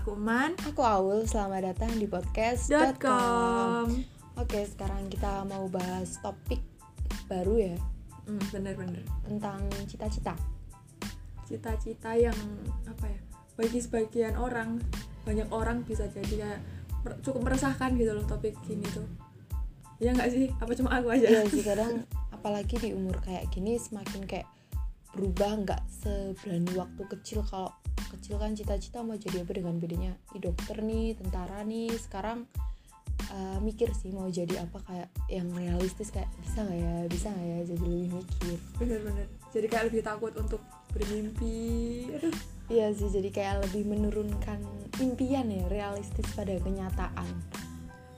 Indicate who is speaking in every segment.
Speaker 1: Kuman
Speaker 2: Aku Aul, selamat datang di podcast.com
Speaker 1: .com.
Speaker 2: Oke, sekarang kita mau bahas topik baru ya
Speaker 1: Hmm, bener-bener.
Speaker 2: Tentang cita-cita
Speaker 1: Cita-cita yang apa ya? Bagi sebagian orang, banyak orang bisa jadi kayak mer- cukup meresahkan gitu loh topik gini tuh. Ya nggak sih? Apa cuma aku aja?
Speaker 2: Iya sih, kadang apalagi di umur kayak gini semakin kayak berubah nggak seberani waktu kecil Kalau kecil kan cita-cita mau jadi apa dengan bedanya Ih, dokter nih, tentara nih Sekarang eh, mikir sih mau jadi apa kayak yang realistis kayak bisa nggak ya bisa nggak ya jadi lebih mikir
Speaker 1: Bener-bener. Jadi kayak lebih takut untuk bermimpi. Aduh,
Speaker 2: Iya sih, jadi kayak lebih menurunkan impian ya, realistis pada kenyataan.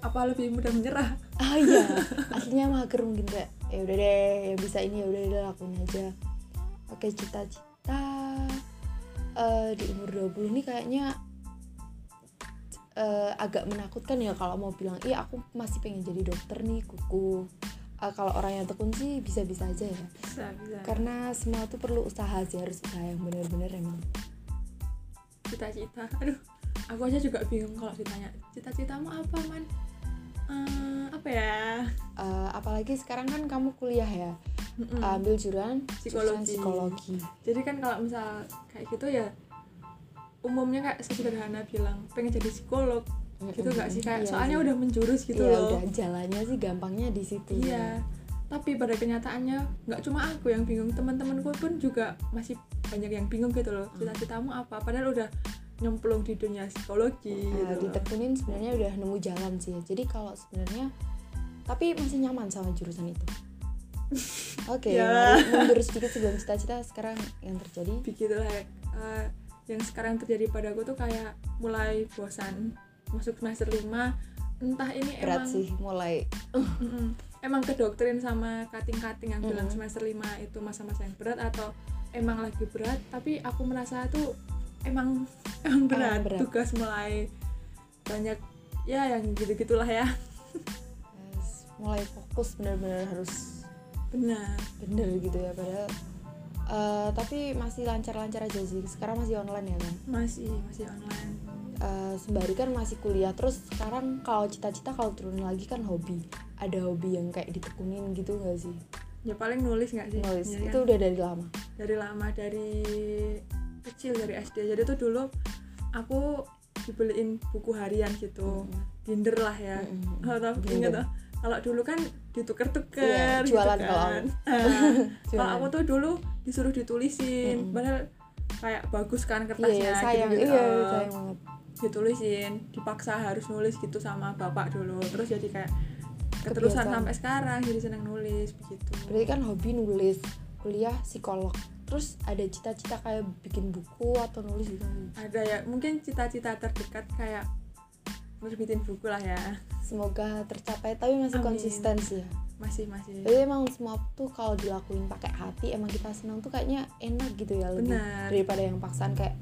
Speaker 1: apa lebih mudah menyerah?
Speaker 2: Ah iya, aslinya mager mungkin kayak ya udah deh, ya bisa ini ya udah deh lakuin aja. Oke, cita-cita eh, di umur 20 ini kayaknya eh, agak menakutkan ya kalau mau bilang, "Iya, aku masih pengen jadi dokter nih, kuku." Eh, kalau orang yang tekun sih bisa-bisa aja ya.
Speaker 1: Bisa, bisa.
Speaker 2: Karena semua tuh perlu usaha sih, harus usaha yang bener-bener emang.
Speaker 1: cita-cita aduh aku aja juga bingung kalau ditanya cita-citamu apa man Eh, apa ya
Speaker 2: Eh, apalagi sekarang kan kamu kuliah ya.
Speaker 1: Mm-mm.
Speaker 2: ambil jurusan
Speaker 1: Psikologi.
Speaker 2: jurusan psikologi.
Speaker 1: jadi kan kalau misal kayak gitu ya umumnya kayak sederhana bilang pengen jadi psikolog gitu nggak sih kayak
Speaker 2: Iya
Speaker 1: soalnya
Speaker 2: sih.
Speaker 1: udah menjurus gitu
Speaker 2: Iya,
Speaker 1: loh
Speaker 2: udah jalannya sih gampangnya di situ
Speaker 1: iya tapi pada kenyataannya nggak cuma aku yang bingung teman-temanku pun juga masih banyak yang bingung gitu loh
Speaker 2: Hmm.
Speaker 1: cita-citamu apa padahal udah nyemplung di dunia psikologi
Speaker 2: Nah,
Speaker 1: gitu loh.
Speaker 2: ditekunin sebenarnya udah nemu jalan sih ya. jadi kalau sebenarnya tapi masih nyaman sama jurusan itu oke
Speaker 1: Ya.
Speaker 2: mari mundur sedikit sebelum cita-cita sekarang yang terjadi
Speaker 1: begitulah eh, yang sekarang terjadi padaku tuh kayak mulai bosan masuk semester 5 entah ini
Speaker 2: berat
Speaker 1: emang
Speaker 2: sih mulai
Speaker 1: Mm-mm. emang kedoktrin sama kating-kating yang bilang
Speaker 2: Mm-mm.
Speaker 1: semester 5 itu masa-masa yang berat atau emang lagi berat tapi aku merasa tuh emang emang berat,
Speaker 2: berat.
Speaker 1: tugas mulai banyak ya yang gitu-gitulah ya
Speaker 2: yes, eh, mulai fokus bener-bener harus
Speaker 1: benar
Speaker 2: bener gitu ya padahal eh, tapi masih lancar-lancar aja sih sekarang masih online ya kan
Speaker 1: masih masih online
Speaker 2: Eh, sembari kan masih kuliah terus sekarang kalau cita-cita kalau turun lagi kan hobi ada hobi yang kayak ditekunin gitu gak sih
Speaker 1: ya paling nulis nggak sih
Speaker 2: nulis
Speaker 1: Ya
Speaker 2: itu
Speaker 1: kan?
Speaker 2: udah dari lama
Speaker 1: dari lama dari kecil dari SD jadi tuh dulu aku dibeliin buku harian gitu binder lah ya
Speaker 2: Mm-mm.
Speaker 1: kalau tau
Speaker 2: Binder.
Speaker 1: ingat tau kalau dulu kan dituker-tuker
Speaker 2: Iya,
Speaker 1: gitu
Speaker 2: jualan
Speaker 1: kan.
Speaker 2: kalau aku.
Speaker 1: Nah, kalau
Speaker 2: Jualan.
Speaker 1: aku tuh dulu disuruh ditulisin
Speaker 2: Mm-mm.
Speaker 1: padahal kayak bagus kan
Speaker 2: iya
Speaker 1: kertasnya
Speaker 2: sayang
Speaker 1: gitu-gitu.
Speaker 2: iya
Speaker 1: Eh,
Speaker 2: sayang banget
Speaker 1: ditulisin dipaksa harus nulis gitu sama bapak dulu terus jadi kayak keterusan
Speaker 2: Kebiasaan.
Speaker 1: sampai sekarang jadi seneng nulis begitu
Speaker 2: berarti kan hobi nulis kuliah psikolog terus ada cita-cita kayak bikin buku atau nulis gitu
Speaker 1: ada ya mungkin cita-cita terdekat kayak nerbitin buku lah ya
Speaker 2: semoga tercapai tapi masih
Speaker 1: Amin.
Speaker 2: konsisten sih ya
Speaker 1: masih masih
Speaker 2: jadi emang semua tuh kalau dilakuin pakai hati emang kita senang tuh kayaknya enak gitu ya lebih
Speaker 1: benar
Speaker 2: daripada yang paksaan kayak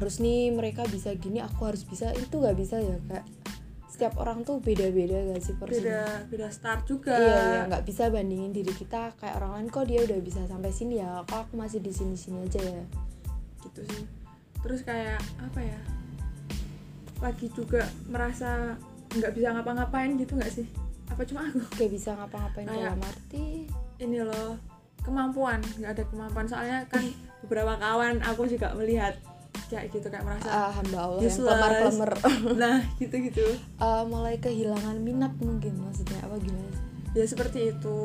Speaker 2: harus nih mereka bisa gini aku harus bisa itu nggak bisa ya kak setiap orang tuh beda-beda gak sih porsinya
Speaker 1: beda beda start juga
Speaker 2: iya iya nggak bisa bandingin diri kita kayak orang lain kok dia udah bisa sampai sini ya kok aku masih di sini sini aja ya
Speaker 1: gitu sih terus kayak apa ya lagi juga merasa nggak bisa ngapa-ngapain gitu nggak sih apa cuma aku
Speaker 2: kayak bisa ngapa-ngapain
Speaker 1: Kayak-
Speaker 2: dalam arti
Speaker 1: ini loh kemampuan nggak ada kemampuan soalnya kan beberapa kawan aku juga melihat kayak gitu kayak merasa
Speaker 2: ah, hamba Allah yang
Speaker 1: useless.
Speaker 2: pelemar-pelemar
Speaker 1: nah gitu gitu
Speaker 2: Eh, mulai kehilangan minat mungkin maksudnya apa gimana sih?
Speaker 1: ya seperti itu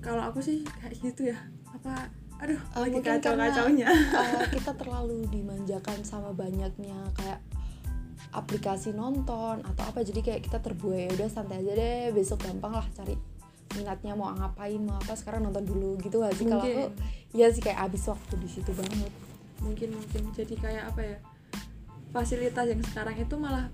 Speaker 1: kalau aku sih kayak gitu ya apa aduh
Speaker 2: Eh,
Speaker 1: lagi
Speaker 2: mungkin
Speaker 1: kacau
Speaker 2: karena-
Speaker 1: kacaunya
Speaker 2: Eh, kita terlalu dimanjakan sama banyaknya kayak aplikasi nonton atau apa jadi kayak kita terbuai "Ya udah santai aja deh besok gampang lah cari minatnya mau ngapain mau apa sekarang nonton dulu gitu gak sih kalau
Speaker 1: Mungkin.
Speaker 2: aku iya sih kayak abis waktu di situ banget
Speaker 1: mungkin mungkin jadi kayak apa ya fasilitas yang sekarang itu malah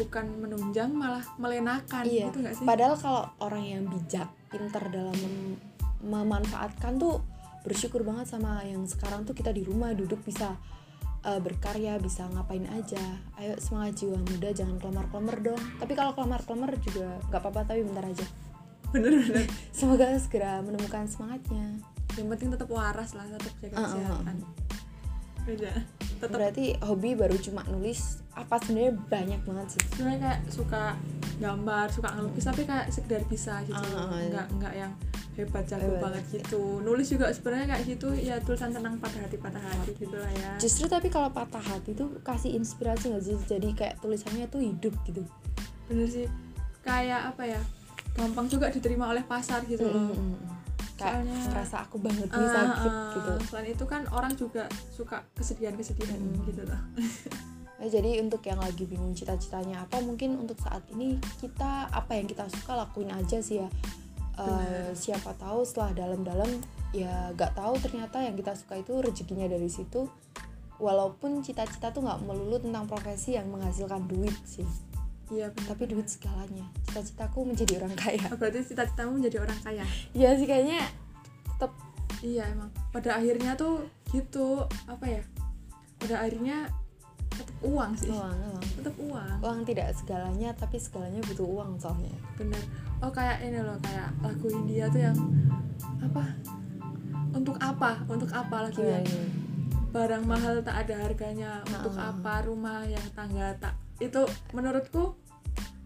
Speaker 1: bukan menunjang malah melenakan
Speaker 2: iya
Speaker 1: gitu nggak sih
Speaker 2: padahal kalau orang yang bijak pinter dalam mem- memanfaatkan tuh bersyukur banget sama yang sekarang tuh kita di rumah duduk bisa eh, berkarya bisa ngapain aja ayo semangat jiwa muda jangan kelamar kelamar dong tapi kalau kelamar kelamar juga nggak apa-apa tapi bentar aja
Speaker 1: bener-bener
Speaker 2: semoga segera menemukan semangatnya
Speaker 1: yang penting tetap waras lah tetap jaga
Speaker 2: Uh, uh, uh.
Speaker 1: kesehatan beda tetap
Speaker 2: berarti hobi baru cuma nulis apa sebenarnya banyak banget sih
Speaker 1: sebenarnya kayak suka gambar suka ngelukis tapi kayak sekedar bisa gitu
Speaker 2: Ah, ah, ah.
Speaker 1: nggak nggak yang hebat jago
Speaker 2: Hebat.
Speaker 1: banget gitu nulis juga sebenarnya kayak gitu ya tulisan tenang pada hati pada hati gitu lah ya
Speaker 2: justru tapi kalau patah hati tuh kasih inspirasi nggak sih jadi kayak tulisannya tuh hidup gitu
Speaker 1: bener sih kayak apa ya gampang juga diterima oleh pasar gitu
Speaker 2: Mm,
Speaker 1: loh
Speaker 2: mm, mm, mm. kayak
Speaker 1: Soalnya-
Speaker 2: ngerasa aku banget nih
Speaker 1: Ah,
Speaker 2: sakit
Speaker 1: ah.
Speaker 2: gitu
Speaker 1: selain itu kan orang juga suka kesedihan kesedihan
Speaker 2: Mm.
Speaker 1: gitu loh
Speaker 2: Nah, jadi untuk yang lagi bingung cita-citanya apa, mungkin untuk saat ini kita apa yang kita suka lakuin aja sih ya. Eh,
Speaker 1: Benar.
Speaker 2: siapa tahu setelah dalam-dalam ya gak tahu ternyata yang kita suka itu rezekinya dari situ. Walaupun cita-cita tuh nggak melulu tentang profesi yang menghasilkan duit sih,
Speaker 1: iya bener.
Speaker 2: tapi duit segalanya. Cita-citaku menjadi orang kaya.
Speaker 1: Oh, berarti cita-citamu menjadi orang kaya
Speaker 2: Iya sih kayaknya tetap
Speaker 1: iya emang pada akhirnya tuh gitu apa ya pada akhirnya tetap uang sih
Speaker 2: uang, uang.
Speaker 1: tetap uang
Speaker 2: Uang tidak segalanya, tapi segalanya butuh uang soalnya.
Speaker 1: bener oh kayak ini loh kayak lagu India tuh yang apa untuk apa untuk apa lagunya
Speaker 2: Gimana nih?
Speaker 1: barang mahal tak ada harganya untuk
Speaker 2: Ah.
Speaker 1: apa rumah yang tangga tak itu menurutku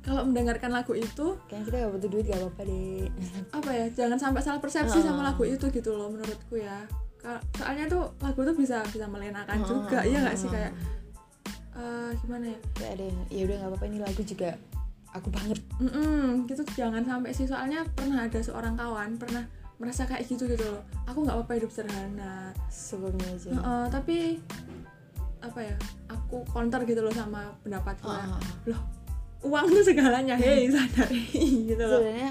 Speaker 1: kalau mendengarkan lagu itu
Speaker 2: Kayaknya kita gak butuh duit gak apa-apa deh.
Speaker 1: apa ya jangan sampai salah persepsi sama
Speaker 2: Ah.
Speaker 1: lagu itu gitu loh menurutku ya Ka- soalnya tuh lagu tuh bisa bisa melenakan
Speaker 2: Ah,
Speaker 1: juga
Speaker 2: ah,
Speaker 1: iya
Speaker 2: ah,
Speaker 1: nggak sih
Speaker 2: ah.
Speaker 1: kayak eh, gimana ya
Speaker 2: Gak ada yang ya udah nggak apa-apa ini lagu juga aku banget
Speaker 1: Mm-mm, gitu jangan sampai sih soalnya pernah ada seorang kawan pernah merasa kayak gitu gitu loh aku nggak apa-apa hidup sederhana
Speaker 2: sebelumnya aja.
Speaker 1: Heeh, tapi apa ya aku counter gitu loh sama pendapatku ya.
Speaker 2: Ah, ah, ah.
Speaker 1: uang tuh segalanya hei sadar gitu loh
Speaker 2: Sebenarnya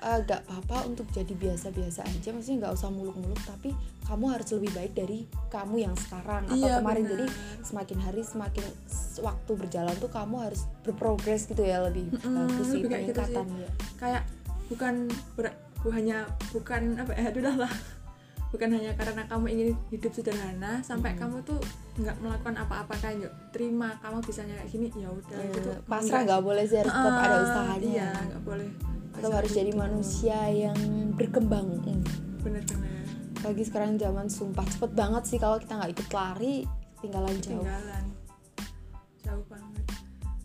Speaker 2: eh, nggak apa-apa untuk jadi biasa-biasa aja, maksudnya nggak usah muluk-muluk, tapi kamu harus lebih baik dari kamu yang sekarang atau Iya, kemarin. Jadi
Speaker 1: Iya, benar.
Speaker 2: semakin hari semakin s- waktu berjalan tuh kamu harus berprogres gitu ya lebih
Speaker 1: Mm-mm,
Speaker 2: bagus sih
Speaker 1: lebih kayak gitu sih.
Speaker 2: peningkatan ya.
Speaker 1: kayak bukan ber, bu- hanya bukan apa ya aduh dah lah bukan hanya karena kamu ingin hidup sederhana sampai
Speaker 2: Mm.
Speaker 1: kamu tuh nggak melakukan apa-apa kan yuk terima kamu bisanya kayak gini ya udah
Speaker 2: Eh,
Speaker 1: gitu
Speaker 2: pasrah nggak boleh sih harus tetap ada
Speaker 1: Ah,
Speaker 2: usahanya.
Speaker 1: iya gitu. nggak boleh
Speaker 2: Tetap harus jadi manusia yang berkembang. Mm.
Speaker 1: bener-bener
Speaker 2: lagi sekarang zaman sumpah cepet banget sih kalau kita nggak ikut lari ketinggalan jauh
Speaker 1: ketinggalan jauh banget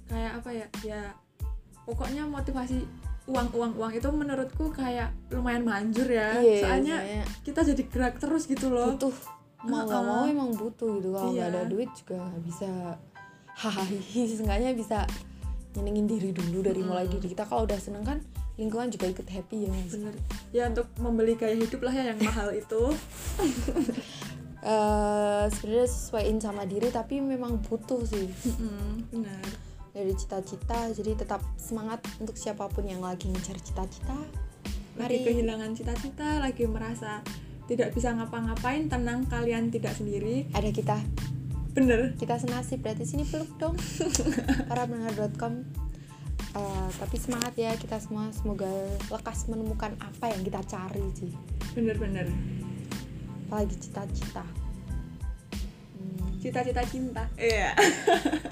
Speaker 1: kayak apa ya ya pokoknya motivasi uang uang uang itu menurutku kayak lumayan manjur ya
Speaker 2: Iya,
Speaker 1: soalnya
Speaker 2: sebenarnya
Speaker 1: kita jadi gerak terus gitu loh
Speaker 2: butuh mau nggak
Speaker 1: Heeh.
Speaker 2: mau emang butuh gitu kalau nggak
Speaker 1: Iya.
Speaker 2: ada duit juga nggak bisa hahaha seenggaknya bisa nyenengin diri dulu dari mulai
Speaker 1: Mm.
Speaker 2: diri kita kalau udah seneng kan lingkungan juga ikut happy ya nggak sih?
Speaker 1: bener ya untuk membeli gaya hidup lah ya yang mahal itu
Speaker 2: Eh, sebenarnya sesuaiin sama diri tapi memang butuh sih
Speaker 1: Mm-mm, Hmm, bener
Speaker 2: dari cita-cita jadi tetap semangat untuk siapapun yang lagi ngejar cita-cita
Speaker 1: lagi
Speaker 2: Mari.
Speaker 1: kehilangan cita-cita lagi merasa tidak bisa ngapa-ngapain tenang kalian tidak sendiri
Speaker 2: ada kita
Speaker 1: bener
Speaker 2: kita senasib berarti sini peluk dong para pendengar.com Eh, tapi semangat ya kita semua semoga lekas menemukan apa yang kita cari sih
Speaker 1: bener bener
Speaker 2: apalagi cita-cita Hmm,
Speaker 1: cita-cita cinta iya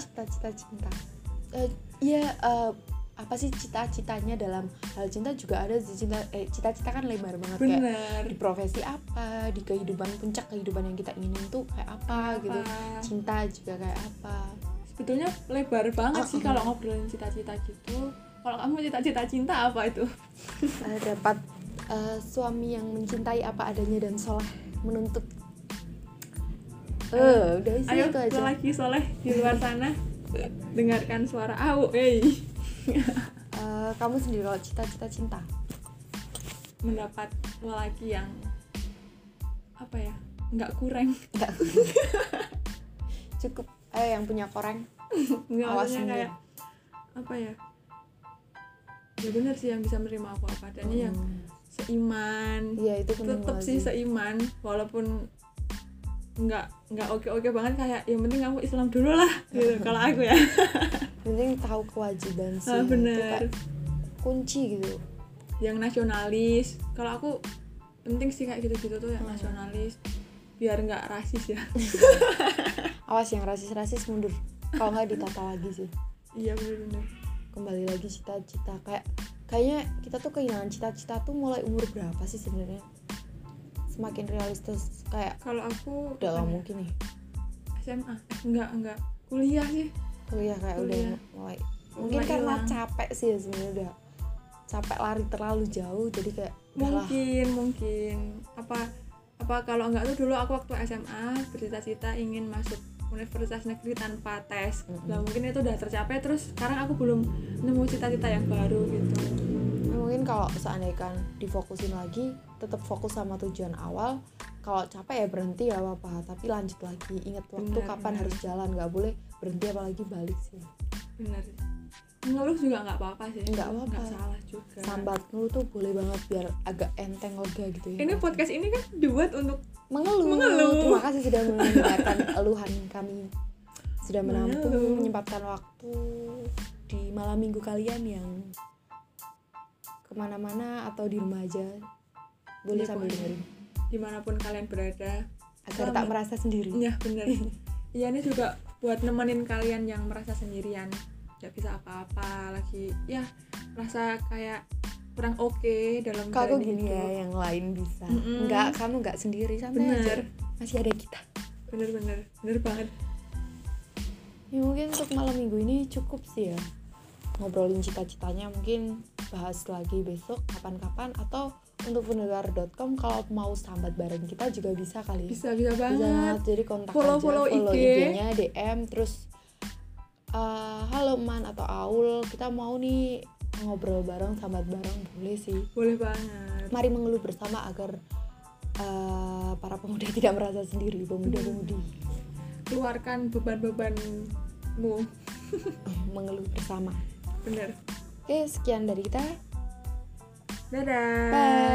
Speaker 2: cita-cita cinta Eh, Iya eh, apa sih cita-citanya dalam hal cinta juga ada sih cinta eh, cita-cita kan lebar banget kayak di
Speaker 1: bener
Speaker 2: profesi apa di kehidupan puncak kehidupan yang kita inginin tuh kayak apa gitu
Speaker 1: Apa?
Speaker 2: cinta juga kayak apa
Speaker 1: Ah, sebetulnya lebar banget
Speaker 2: Ah,
Speaker 1: sih
Speaker 2: ah.
Speaker 1: kalau ngobrolin cita-cita gitu kalau kamu cita-cita cinta apa itu
Speaker 2: Uh, dapat uh, suami yang mencintai apa adanya dan soleh menuntut eh udah sih
Speaker 1: ayo
Speaker 2: itu aja
Speaker 1: lelaki soleh di luar sana dengarkan suara au hey
Speaker 2: Uh, kamu sendiri kalau cita-cita cinta
Speaker 1: mendapat lelaki yang apa ya nggak kurang
Speaker 2: enggak cukup ayo yang punya koreng
Speaker 1: nggak
Speaker 2: Awas
Speaker 1: maksudnya
Speaker 2: sendiri.
Speaker 1: kayak apa ya ya bener sih yang bisa menerima aku apa adanya yang
Speaker 2: Hmm.
Speaker 1: seiman
Speaker 2: iya itu penting
Speaker 1: tetap
Speaker 2: banget
Speaker 1: sih seiman walaupun nggak nggak oke oke banget kayak yang penting kamu Islam dulu lah gitu kalau aku ya
Speaker 2: penting tahu kewajiban sih
Speaker 1: Ah,
Speaker 2: Itu
Speaker 1: bener
Speaker 2: kayak kunci gitu
Speaker 1: yang nasionalis kalau aku penting sih kayak gitu gitu tuh yang
Speaker 2: Hmm.
Speaker 1: nasionalis biar nggak rasis ya
Speaker 2: awas yang rasis-rasis mundur kalau nggak ditata lagi sih
Speaker 1: iya bener-bener
Speaker 2: kembali lagi cita-cita kayak kayaknya kita tuh kehilangan cita-cita tuh mulai umur berapa sih sebenarnya semakin realistis kayak
Speaker 1: kalau aku
Speaker 2: udah
Speaker 1: apa
Speaker 2: gak
Speaker 1: ya?
Speaker 2: mungkin nih
Speaker 1: SMA Eh, enggak enggak kuliah sih
Speaker 2: kuliah Oh iya, kayak udah
Speaker 1: Kuliah.
Speaker 2: mulai mungkin
Speaker 1: Iya. Mulai
Speaker 2: karena
Speaker 1: hilang.
Speaker 2: capek sih ya sebenarnya udah capek lari terlalu jauh jadi kayak udahlah
Speaker 1: mungkin mungkin apa apa kalau enggak tuh dulu aku waktu SMA bercita-cita ingin masuk universitas negeri tanpa tes
Speaker 2: Mm-mm.
Speaker 1: lah mungkin itu udah tercapai terus sekarang aku belum nemu cita-cita yang baru gitu
Speaker 2: Nah, mungkin kalau seandainya kan difokusin lagi tetap fokus sama tujuan awal kalau capek ya berhenti ya apa tapi lanjut lagi ingat waktu
Speaker 1: Benar,
Speaker 2: kapan
Speaker 1: benar.
Speaker 2: harus jalan nggak boleh berhenti apalagi balik sih
Speaker 1: bener ngeluh juga nggak apa-apa sih
Speaker 2: Nggak
Speaker 1: Ngeluh
Speaker 2: apa-apa.
Speaker 1: salah juga
Speaker 2: sambat ngeluh tuh boleh banget biar agak enteng lega gitu ya
Speaker 1: ini podcast ini kan dibuat untuk
Speaker 2: mengeluh.
Speaker 1: Mengeluh.
Speaker 2: Terima kasih sudah mendengarkan eluhan kami. Sudah menampung
Speaker 1: Mengeluh.
Speaker 2: menyempatkan waktu di malam minggu kalian yang kemana-mana atau di rumah aja boleh
Speaker 1: Iya,
Speaker 2: sambil
Speaker 1: boleh.
Speaker 2: dengerin
Speaker 1: dimanapun kalian berada
Speaker 2: agar
Speaker 1: Selamat.
Speaker 2: tak merasa sendiri.
Speaker 1: ya bener iya ini juga buat nemenin kalian yang merasa sendirian nggak bisa apa-apa lagi ya rasa kayak kurang oke dalam
Speaker 2: Kalau aku
Speaker 1: menjalani
Speaker 2: gini
Speaker 1: hidup.
Speaker 2: ya, yang lain bisa.
Speaker 1: gitu. Mm-mm.
Speaker 2: Enggak, kamu enggak sendiri santai aja.
Speaker 1: bener
Speaker 2: Masih ada kita.
Speaker 1: bener bener bener banget
Speaker 2: Iya. Ya mungkin untuk malam minggu ini cukup sih ya ngobrolin cita-citanya mungkin bahas lagi besok kapan-kapan atau untuk pendengar.com kalau mau sambat bareng kita juga bisa kali ya.
Speaker 1: bisa bisa
Speaker 2: Bisa
Speaker 1: banget
Speaker 2: banget. jadi kontak
Speaker 1: Follow-
Speaker 2: aja
Speaker 1: follow
Speaker 2: follow
Speaker 1: IG.
Speaker 2: IG-nya DM terus eh, halo man atau Aul kita mau nih ngobrol bareng sambat bareng boleh sih
Speaker 1: boleh banget
Speaker 2: mari mengeluh bersama agar eh, para pemuda tidak merasa sendiri pemuda-pemudi
Speaker 1: Hmm. keluarkan beban-bebanmu
Speaker 2: mengeluh bersama
Speaker 1: bener
Speaker 2: oke sekian dari kita
Speaker 1: dadah
Speaker 2: bye